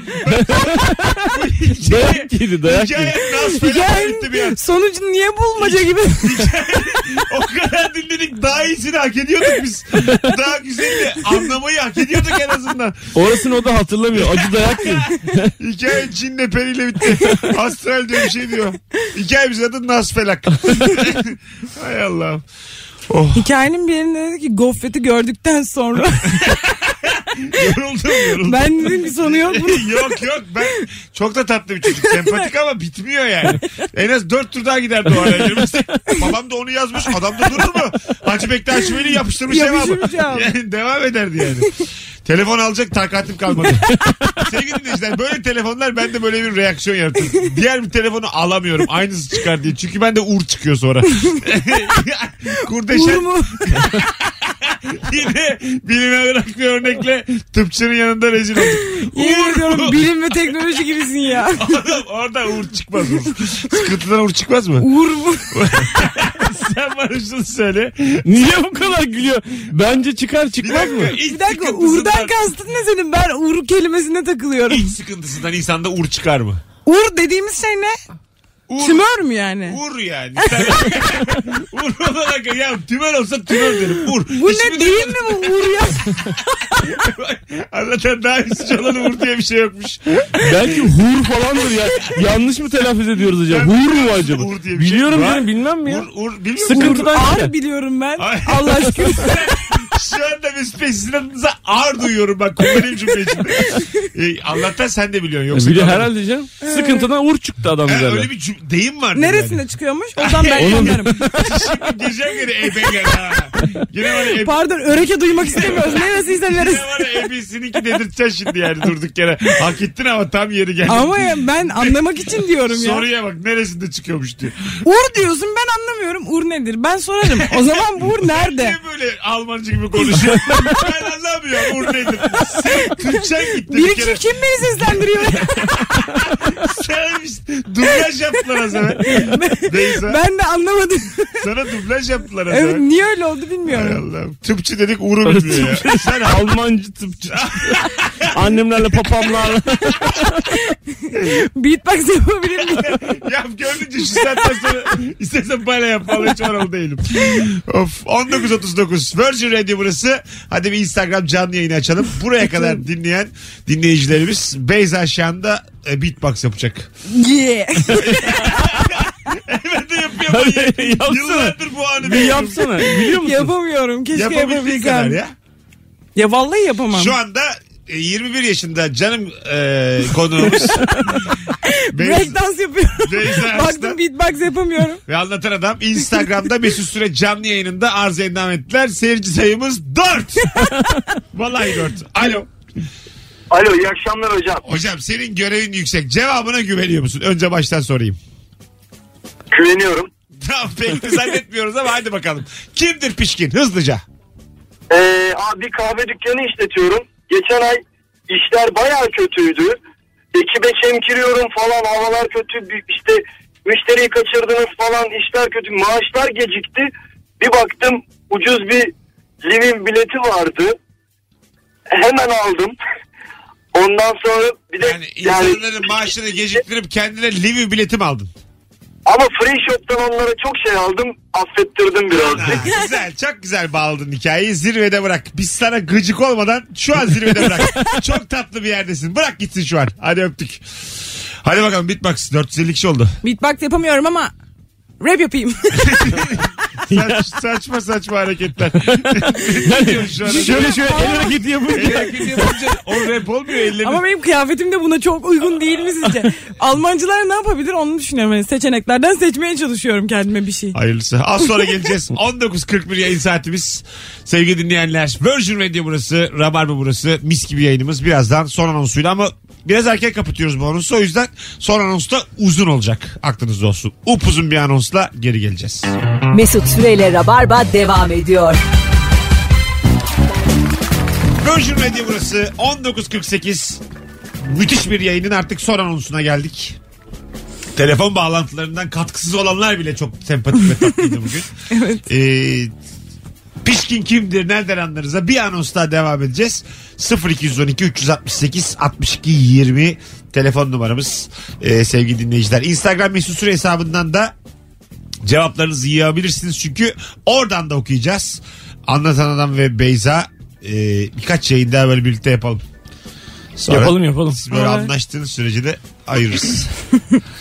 S3: Dayak yedi dayak yedi.
S2: Hikaye nasıl fena gitti bir an.
S4: Hikayenin sonucu niye bulmaca gibi?
S2: O kadar dinledik daha iyisini hak ediyorduk biz. Daha güzeldi. Anlamayı hak ediyorduk en azından.
S3: Orasını o da hatırlamıyor. Acı dayak yedi.
S2: Hikaye Çin'le periyle bitti. Astral diyor bir şey diyor. Hikayemizin adı Nasfelak. Hay Oh, Allah.
S4: Hikayenin bir yerinde dedi ki gofreti gördükten sonra.
S2: Yoruldum yoruldum.
S4: ben dedim ki sonu yok mu?
S2: yok yok ben çok da tatlı bir çocuk. Sempatik ama bitmiyor yani. En az dört tur daha giderdi o araya girmesek. Babam da onu yazmış. Adam da durur mu? Hacı Bektaş Veli yapıştırmış
S4: Yapıştırmış
S2: cevabı.
S4: cevabı.
S2: Yani devam ederdi yani. Telefon alacak takatim kalmadı. Sevgili dinleyiciler böyle telefonlar bende böyle bir reaksiyon yaratır. Diğer bir telefonu alamıyorum. Aynısı çıkar diye. Çünkü bende uğur çıkıyor sonra. Kurdeşen
S4: Uğur mu?
S2: yine bilime bırak bir örnekle tıpçının yanında rezil olduk.
S4: Yemin
S2: Uğur mu?
S4: ediyorum bilim ve teknoloji gibisin ya.
S2: Adam orada uğur çıkmaz mı? Sıkıntıdan uğur çıkmaz mı?
S4: Uğur mu?
S2: Sen bana şunu söyle.
S3: Niye bu kadar gülüyor? Bence çıkar
S2: Bir
S3: çıkmaz mı?
S2: dakika. iç
S4: Bir dakika
S2: sıkıntısından-
S4: Uğur'dan kastın ne senin? Ben Uğur kelimesine takılıyorum.
S2: İç sıkıntısından insanda uğur çıkar mı?
S4: Uğur dediğimiz şey ne?
S2: Uğur.
S4: Tümör mü yani?
S2: Uğur yani. Sen- uğur olarak ya tümör olsa tümör derim. Uğur.
S4: Bu
S2: Hiçbir-
S4: ne değil mi bu Uğur ya?
S2: Anlatan daha üstücü olan uğur diye bir şey yokmuş.
S3: Belki hur falandır ya. Yanlış mı telaffuz ediyoruz acaba? Hur mu acaba?
S2: Uğur diye bir şey
S3: Biliyorum
S2: var.
S3: canım bilmem mi ya?
S2: Uğur, uğur biliyor musun?
S3: Sıkıntıdan çıkar.
S4: Ağır biliyorum ben.
S2: Ay.
S4: Allah aşkına.
S2: Şu anda Mesut Bey sizin adınıza ağır duyuyorum bak kullanayım cümle içinde. Ee, Allah'tan sen E, de biliyorsun. Yoksa
S3: Bili herhalde canım. Sıkıntıdan uğur çıktı adam
S2: Ha,
S3: üzerine.
S2: Ee. E, öyle bir cüm- deyim var.
S4: Neresinde çıkıyormuş? Oradan ben
S3: Oğlum.
S4: yanlarım.
S2: Şimdi gireceğim gene ebe gel ha. Yine var ya ebe.
S4: Pardon öreke duymak istemiyoruz. Neresiyse neresi.
S2: Yine var ya ebesininkini dedirteceksin şimdi yani durduk yere. Hak ettin ama tam yeri geldi.
S4: Ama ya ben anlamak için diyorum ya.
S2: Soruya bak neresinde çıkıyormuş diyor.
S4: Uğur diyorsun ben anlamıyorum. Uğur nedir? Ben sorarım. O zaman bu Uğur nerede?
S2: Niye böyle Almancı gibi konuşuyor? ben anlamıyorum Uğur nedir? Sen Türkçen gitti bir,
S4: Biri kim,
S2: kere.
S4: kim beni seslendiriyor?
S2: Sen biz- dublaj yaptılar az evvel. Beyza
S4: ben de anlamadım.
S2: sana dublaj yaptılar az
S4: evet,
S2: evvel.
S4: niye öyle oldu
S2: Hay
S4: bilmiyorum.
S2: Allah'ım. Tıpçı dedik Uğur'u şey bilmiyor ya. Sen
S3: Almancı tıpçı. Annemlerle papamlarla.
S4: Beatbox yapabilir miyim?
S2: Yap gönlünce şu saatten sonra istersen bana yap. Vallahi hiç oralı değilim. Of 19.39 Virgin Radio burası. Hadi bir Instagram canlı yayını açalım. Buraya kadar dinleyen dinleyicilerimiz Beyza Şan'da e, beatbox yapacak.
S4: Yeah.
S2: Ben de yapıyorum.
S3: Hadi yapsana.
S2: Yıllardır bu anı
S3: bir
S2: bekliyorum.
S3: yapsana. Biliyor musun?
S2: şey
S4: Yapamıyorum. Keşke
S2: Yapabildiği kadar
S4: yapabilsem.
S2: ya.
S4: Ya vallahi yapamam.
S2: Şu anda e, 21 yaşında canım e, konuğumuz. Beyz-
S4: Breakdance yapıyorum.
S2: Beyza Arslan.
S4: Baktım beatbox yapamıyorum.
S2: Ve anlatan adam Instagram'da Mesut Süre canlı yayınında arz endam ettiler. Seyirci sayımız 4. Vallahi 4. Alo.
S5: Alo iyi akşamlar hocam.
S2: Hocam senin görevin yüksek. Cevabına güveniyor musun? Önce baştan sorayım.
S5: Güveniyorum.
S2: Tamam pek de zannetmiyoruz ama hadi bakalım. Kimdir pişkin? Hızlıca.
S5: Ee, abi bir kahve dükkanı işletiyorum. Geçen ay işler baya kötüydü. Ekibe çemkiriyorum falan havalar kötü. Bir- İşte müşteriyi kaçırdınız falan işler kötü. Maaşlar gecikti. Bir baktım ucuz bir Livin bileti vardı. Hemen aldım. Ondan sonra bir de
S2: Yani insanların maaşını geciktirip kendine livi bileti mi aldın?
S5: ama free shop'tan onlara çok şey aldım. Affettirdim
S2: Ha,
S5: birazcık.
S2: güzel çok güzel bağladın hikayeyi zirvede bırak. Biz sana gıcık olmadan şu an zirvede bırak. çok tatlı bir yerdesin. Bırak gitsin şu an. Hadi öptük. Hadi bakalım Bitbox 450 kişi oldu.
S4: Beatbox yapamıyorum ama rap yapayım.
S2: Saç- saçma saçma hareketler. Ne diyorsun şu an?
S3: Şöyle şöyle el hareketi
S2: El
S3: yapınca.
S2: hareketi yapınca o rap olmuyor ellerin.
S4: ama benim kıyafetim de buna çok uygun değil mi sizce? Almancılar ne yapabilir onu düşünüyorum. Yani seçeneklerden seçmeye çalışıyorum kendime bir şey.
S2: Hayırlısı. Az sonra geleceğiz. 19.41 yayın saatimiz. Sevgili dinleyenler. Virgin Radio burası. Rabarba burası. Mis gibi yayınımız. Birazdan son anonsuyla ama biraz erken kapatıyoruz bu anonsu. O yüzden son anons da uzun olacak. Aklınızda olsun. Upuzun bir anonsla geri geleceğiz.
S1: Mesut Süreyle Rabarba devam ediyor.
S2: Virgin Radio burası. 19.48. Müthiş bir yayının artık son anonsuna geldik. Telefon bağlantılarından katkısız olanlar bile çok sempatik ve tatlıydı bugün.
S4: Evet.
S2: Ee, Pişkin kimdir nereden anlarıza bir anons daha devam edeceğiz. 0212 368 62 20 telefon numaramız Ee, sevgili dinleyiciler. Instagram mesut süre hesabından da cevaplarınızı yığabilirsiniz çünkü oradan da okuyacağız. Anlatan Adam ve Beyza e, birkaç yayın daha böyle birlikte yapalım. Sonra
S3: Yapalım yapalım.
S2: Siz böyle anlaştığınız sürece de ayırırız.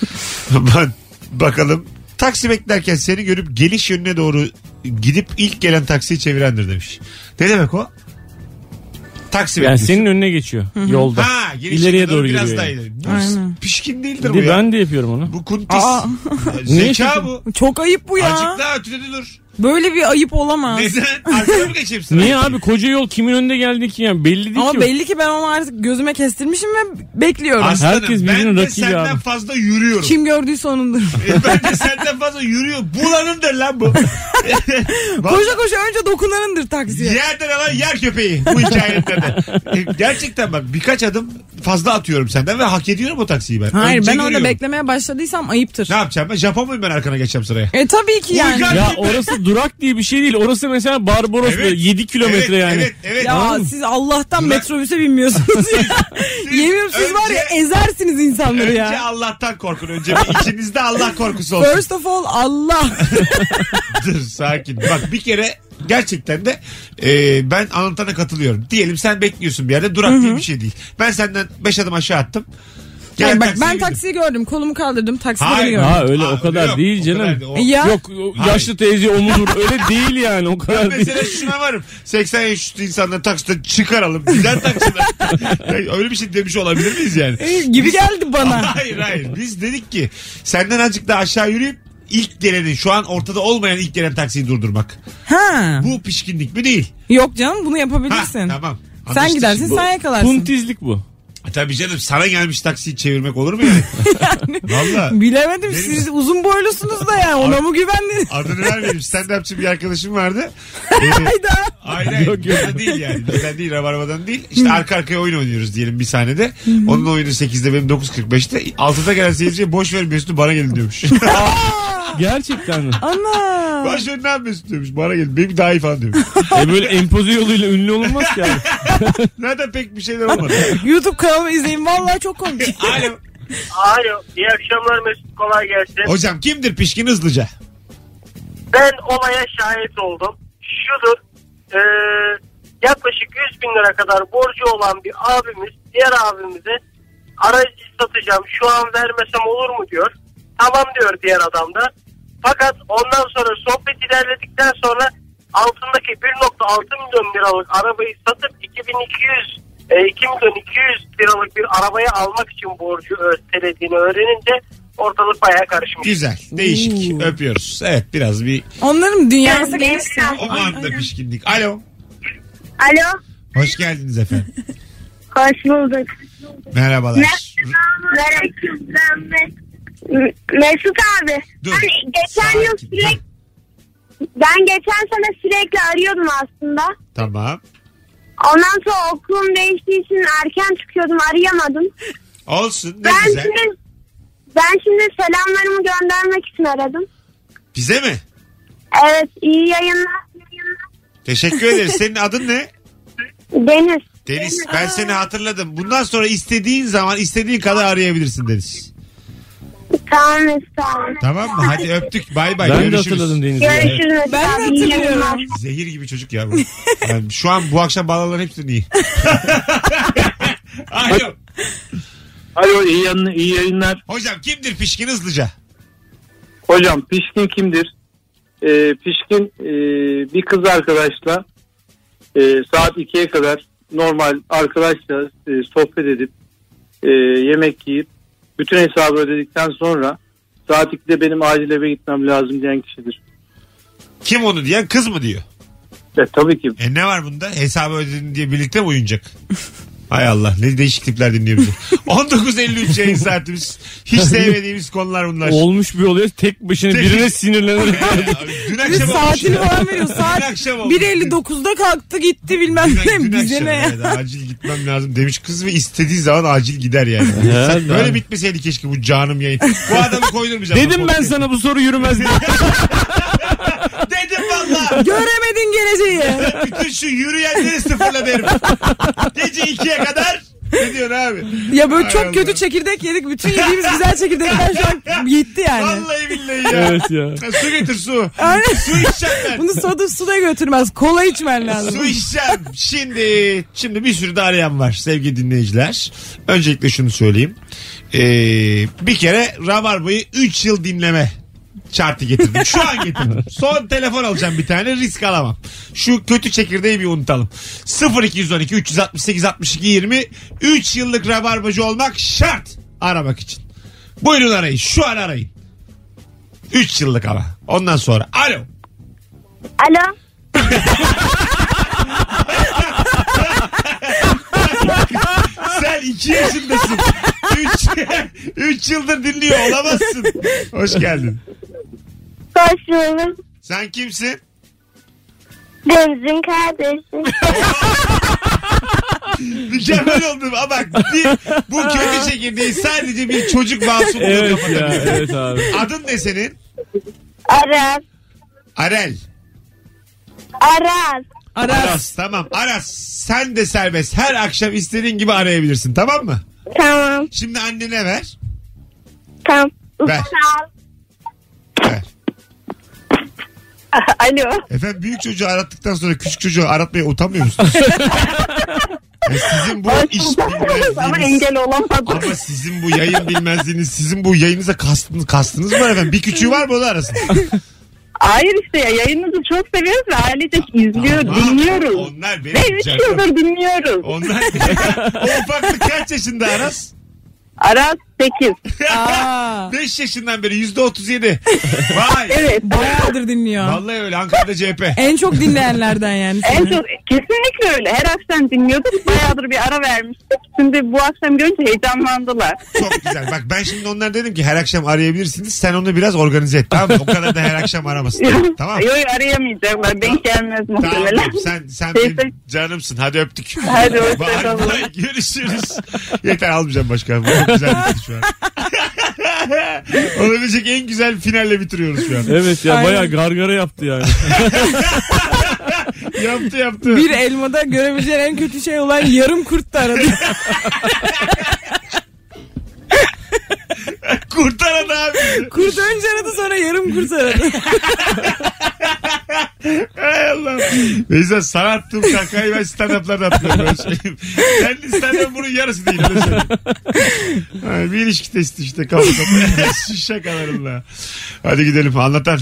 S2: ben bakalım. Taksi beklerken seni görüp geliş yönüne doğru gidip ilk gelen taksiyi çevirendir demiş. Ne demek o? Taksi
S3: Yani
S2: bekliyorsun.
S3: senin önüne geçiyor yolda.
S2: Ha, geliş
S3: ileriye
S2: yönüne
S3: doğru
S2: biraz
S3: gidiyor.
S2: daha
S3: yani.
S2: ileri. Bu
S4: Aynen.
S2: pişkin değildir bu
S3: Değil,
S2: ya.
S3: ben de yapıyorum onu.
S2: Bu kuntis.
S4: Aa.
S3: Niye
S2: Zeka
S3: şaşırdın?
S2: bu.
S4: Çok ayıp bu ya.
S2: Azıcık daha ötede dur.
S4: Böyle bir ayıp olamaz.
S2: Neden? Arkaya mı geçeyim sana?
S3: Niye abi koca yol kimin önünde geldi ki yani belli değil
S4: Ama
S3: ki.
S4: belli ki ben onu artık gözüme kestirmişim ve bekliyorum.
S2: Aslanım
S3: Herkes
S2: ben
S3: birbirinin
S2: de
S3: rakibi
S2: senden
S3: abi.
S2: fazla yürüyorum.
S4: Kim gördüyse onundur.
S2: E, ben de senden fazla yürüyor. Bulanındır lan bu.
S4: koşa koşa önce dokunanındır taksiye.
S2: Yerden alan yer köpeği bu hikayede de. E, Gerçekten bak birkaç adım fazla atıyorum senden ve hak ediyorum o taksiyi ben.
S4: Hayır
S2: Önce
S4: ben orada
S2: görüyorum.
S4: beklemeye başladıysam ayıptır.
S2: Ne yapacağım ben? Japon muyum ben arkana geçeceğim sıraya?
S4: E tabii ki yani.
S2: Uygar-
S3: Ya orası durak diye bir şey değil. Orası mesela Barbaros
S2: Evet.
S3: böyle 7 kilometre
S2: evet,
S3: yani.
S2: Evet evet.
S4: Ya siz Allah'tan
S2: Ulan-
S4: metrobüse binmiyorsunuz ya. Yemin siz var ya
S2: önce-
S4: ezersiniz insanları
S2: Önce
S4: ya.
S2: Allah'tan korkun. Önce bir içinizde Allah korkusu olsun.
S4: First of all Allah.
S2: Dur sakin. Bak bir kere gerçekten de e, ben anlatana katılıyorum. Diyelim sen bekliyorsun bir yerde durak diye bir şey değil. Ben senden 5 adım aşağı attım. Gelen
S4: Hayır, bak
S2: taksiye
S4: ben
S2: bindim.
S4: taksiyi gördüm. Kolumu kaldırdım. Taksiye
S2: Hayır.
S4: biniyorum.
S3: Ha öyle
S2: Aa,
S3: o kadar
S2: yok,
S3: değil
S2: o
S3: canım.
S2: kadar değil. O-
S4: E ya
S3: Yok o- yaşlı teyze omudur öyle değil yani o kadar değil.
S2: Mesela şuna varım. 80 yaş üstü insanları taksiden çıkaralım. Bizden taksiden. Yani öyle bir şey demiş olabilir miyiz yani?
S4: E, gibi geldi bana.
S2: hayır hayır. Biz dedik ki senden azıcık daha aşağı yürüyüp ilk geleni şu an ortada olmayan ilk gelen taksiyi durdurmak.
S4: ha.
S2: Bu pişkinlik mi değil?
S4: Yok canım bunu
S2: Ha,
S4: yapabilirsin.
S2: tamam.
S4: Sen
S2: Anlaştık
S4: gidersin
S2: şimdi.
S4: sen yakalarsın.
S3: Puntizlik bu.
S2: Ha, E Tabii canım sana gelmiş taksiyi çevirmek olur mu yani? Valla.
S4: Bilemedim
S2: Benim-
S4: siz uzun boylusunuz da ya ona mı güvendiniz?
S2: Adını vermedim. Stand-upçı bir arkadaşım vardı.
S4: Hayda.
S2: Hayır hayır.
S3: Yok, yok.
S2: Bizden değil yani. Bizden değil Rabarba'dan değil. İşte arka arkaya oyun oynuyoruz diyelim bir sahnede. Onun oyunu 8'de benim 9.45'te. 6'da gelen seyirciye boş ver Mesut'u bana gelin diyormuş.
S3: Gerçekten mi?
S4: Ana.
S2: boş ver ne yap Mesut diyormuş. Bana gelin. Benim daha iyi falan diyormuş.
S3: E böyle empoze yoluyla ünlü olunmaz ki abi.
S2: Zaten pek bir şeyler olmadı.
S4: YouTube kanalımı izleyin vallahi çok komik.
S2: Alo.
S5: Alo iyi akşamlar Mesut kolay gelsin.
S2: Hocam kimdir pişkin hızlıca?
S5: Ben olaya şahit oldum. Şudur. e, yaklaşık 100 bin lira kadar borcu olan bir abimiz diğer abimize aracı satacağım şu an vermesem olur mu diyor. Tamam diyor diğer adam da. Fakat ondan sonra sohbet ilerledikten sonra
S9: altındaki 1.6 milyon liralık arabayı satıp 2200 e, 2 milyon 200 liralık bir arabaya almak için borcu ötelediğini öğrenince ortalık bayağı karışmış.
S2: Güzel. Değişik. Öpüyoruz. Evet biraz bir
S4: Onların dünyası
S7: Yani
S4: gelişti.
S7: neyse.
S2: o anda pişkinlik. Alo.
S7: Alo.
S2: Hoş geldiniz efendim.
S7: Hoş bulduk.
S2: Merhabalar.
S7: Mesut abi.
S2: Dur.
S7: Hani geçen yıl
S2: Sakin.
S7: sürekli ben geçen sene sürekli arıyordum aslında.
S2: Tamam.
S7: Ondan sonra okulum değiştiği için erken çıkıyordum arayamadım.
S2: Olsun ne
S7: ben
S2: güzel.
S7: şimdi ben şimdi selamlarımı göndermek için aradım.
S2: Bize mi?
S7: Evet iyi yayınlar.
S2: Teşekkür ederiz. Senin adın ne?
S7: Deniz.
S2: Deniz. Ben seni hatırladım. Bundan sonra istediğin zaman istediğin kadar arayabilirsin Deniz.
S7: Tamam Mesut abi.
S2: Tamam mı? Hadi öptük. Bay bay.
S3: Ben de
S2: Görüşürüz.
S3: hatırladım Deniz'i. ya.
S7: Görüşürüz. Mesut
S4: Ben de
S7: abi, iyi
S4: hatırlıyorum.
S7: yayınlar.
S2: Zehir gibi çocuk ya bu. Yani şu an bu akşam bağlanan hepsini iyi. Alo.
S5: Alo iyi, yan- iyi yayınlar.
S2: Hocam kimdir pişkin hızlıca?
S5: Hocam pişkin kimdir? Ee, pişkin e, bir kız arkadaşla e, saat 2'ye kadar normal arkadaşla e, sohbet edip e, yemek yiyip bütün hesabı ödedikten sonra saat 2'de benim acil eve gitmem lazım diyen kişidir.
S2: Kim onu diyen kız mı diyor?
S5: E, tabii ki.
S2: E ne var bunda? Hesabı ödedin diye birlikte mi oyuncak? Hay Allah ne değişik tipler dinliyor bizi. 19.53 yayın saatimiz. Hiç sevmediğimiz konular bunlar.
S3: Olmuş bir oluyor tek başına
S2: Tek-
S3: birine sinirlenerek.
S2: Abi, dün
S4: Bir
S2: akşam olmuş
S4: saatini
S2: ya.
S4: falan veriyor. Saat
S2: Dün akşam olmuş.
S4: 1.59'da kalktı gitti bilmem
S2: Dün, dün
S4: ne. Bize
S2: akşam
S4: ne?
S2: evet, acil gitmem lazım demiş kız ve istediği zaman acil gider yani.
S3: Ya,
S2: Sen-
S3: ya.
S2: Böyle bitmeseydi keşke bu canım yayın. Bu adamı koydurmayacağım.
S3: Dedim
S2: Bu
S3: ben
S2: podcast.
S3: sana bu soru yürümez diye.
S2: Dedim valla.
S4: Göremedin geleceği.
S2: Bütün şu yürüyenleri sıfırla derim. Gece ikiye kadar. Ne diyorsun abi?
S4: Ya böyle
S2: Ay
S4: çok
S2: Allah.
S4: kötü çekirdek yedik. Bütün yediğimiz güzel çekirdekler şu an yetti yani.
S2: Vallahi billahi ya.
S3: evet ya.
S2: Ya Su getir su.
S4: Aynen.
S2: Su içeceğim ben.
S4: Bunu soda suda götürmez. Kola içmen lazım.
S2: Su içeceğim. Şimdi şimdi bir sürü de arayan var sevgili dinleyiciler. Öncelikle şunu söyleyeyim. Ee, bir kere Rabarba'yı 3 yıl dinleme şartı getirdim. Şu an getirdim. Son telefon alacağım bir tane risk alamam. Şu kötü çekirdeği bir unutalım. 0212 368 62 20 3 yıllık Rabarbacı olmak şart aramak için. Buyurun arayın. Şu an arayın. 3 yıllık ama. Ondan sonra. Alo.
S7: Alo.
S2: Sen iki yaşındasın. Üç, üç yıldır dinliyor olamazsın. Hoş geldin.
S7: Hoş bulduk.
S2: Sen kimsin?
S7: Deniz'in kardeşi.
S2: Mükemmel oldum. Ama bak bir, bu kötü çekirdeği sadece bir çocuk masumluğu
S3: Evet ya
S2: kapatabilir.
S3: evet abi.
S2: Adın ne senin?
S7: Aras.
S2: Arel.
S7: Aras.
S4: Aras.
S2: Aras. Tamam. Aras sen de serbest. Her akşam istediğin gibi arayabilirsin. Tamam mı?
S7: Tamam.
S2: Şimdi annene ver.
S7: Tamam.
S2: Ver.
S7: Tamam.
S2: ver.
S7: Alo.
S2: Efendim büyük çocuğu arattıktan sonra küçük çocuğu aratmaya utanmıyor musunuz? Ya sizin bu iş bilmezliğiniz-
S7: Ama engel olamadım.
S2: Ama sizin bu yayın bilmezliğiniz, sizin bu yayınıza kastınız, kastınız mı var efendim? Bir küçüğü var mı onu arasın?
S7: Hayır işte ya yayınınızı çok seviyoruz ve ailecek izliyoruz,
S2: Ama
S7: dinliyoruz.
S2: Onlar
S7: Ve
S2: benim
S7: 3
S2: canım.
S7: yıldır dinliyoruz.
S2: Onlar o ufaklık kaç yaşında Aras?
S7: Aras 8.
S4: Aa,
S2: 5 yaşından beri yüzde 37. Vay.
S7: Evet.
S4: bayağıdır dinliyor.
S2: Vallahi öyle Ankara'da CHP.
S4: En çok dinleyenlerden yani.
S7: En çok kesinlikle öyle. Her akşam dinliyorduk. Bayağıdır bir ara vermiştik. Şimdi bu akşam görünce heyecanlandılar.
S2: Çok güzel. Bak ben şimdi onlar dedim ki her akşam arayabilirsiniz. Sen onu biraz organize et. Tamam mı? O kadar da her akşam aramasın. Tamam.
S7: Yok arayamayacaklar. Denk gelmez
S2: Tamam
S7: muhtemelen.
S2: sen sen
S7: Neyse.
S2: benim canımsın. Hadi öptük.
S7: Hadi hoşça
S2: Bye
S7: kalın.
S2: bye. Görüşürüz. Yeter almayacağım başka. Bu çok güzel bitti şu an. Olabilecek en güzel finalle bitiriyoruz şu an.
S3: Evet ya
S4: Aynen.
S3: bayağı gargara yaptı yani.
S2: yaptı yaptı.
S4: Bir elmada görebileceğin en kötü şey olan yarım kurt da aradı.
S2: Kurtaran abi.
S4: Kurt önce aradı sonra yarım kurt aradı.
S2: Hay Allah. Neyse sana attığım kakayı ben stand-up'larda atıyorum. Ben şeyim. Kendi stand-up bunun yarısı değil. öyle söyleyeyim. Ay, bir ilişki testi işte. Kapı kapı. Şu şakalarınla. Hadi gidelim anlatan.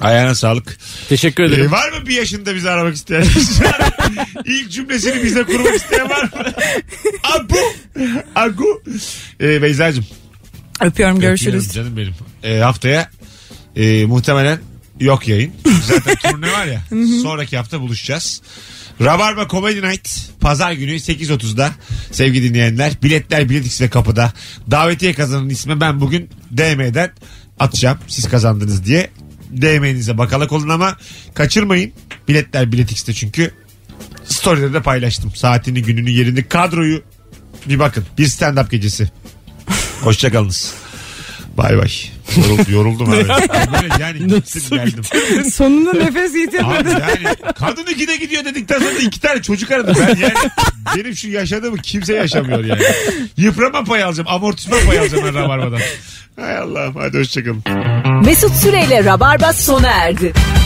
S2: Ayağına sağlık.
S3: Teşekkür
S2: Ee,
S3: ederim.
S2: var mı bir yaşında bizi aramak isteyen? Şu an İlk cümlesini bize kurmak isteyen var mı? Agu. Agu. Ee, Beyza'cığım.
S4: Öpüyorum görüşürüz.
S2: öpüyorum Canım benim. Ee, haftaya e, muhtemelen yok yayın. Zaten turne var ya. sonraki hafta buluşacağız. Rabarba Comedy Night pazar günü 8.30'da sevgili dinleyenler. Biletler Bilet X'de kapıda. Davetiye kazanan ismi ben bugün DM'den atacağım. Siz kazandınız diye. DM'nize bakalak olun ama kaçırmayın. Biletler Bilet X'de çünkü storyleri de paylaştım. Saatini, gününü, yerini, kadroyu bir bakın. Bir stand-up gecesi. Hoşçakalınız. Bay bay. Yorul- yoruldum abi. Böyle yani gittim geldim.
S4: Sonunda nefes
S2: Abi
S4: yitirmedi.
S2: yani kadın ikide gidiyor dedikten sonra iki tane çocuk aradım ben yani. Benim şu yaşadığımı kimse yaşamıyor yani. Yıprama payı alacağım. Amortisman payı alacağım ben Rabarba'dan. Hay Allah'ım hadi hoşçakalın.
S1: Mesut Süreyle Rabarba sona erdi.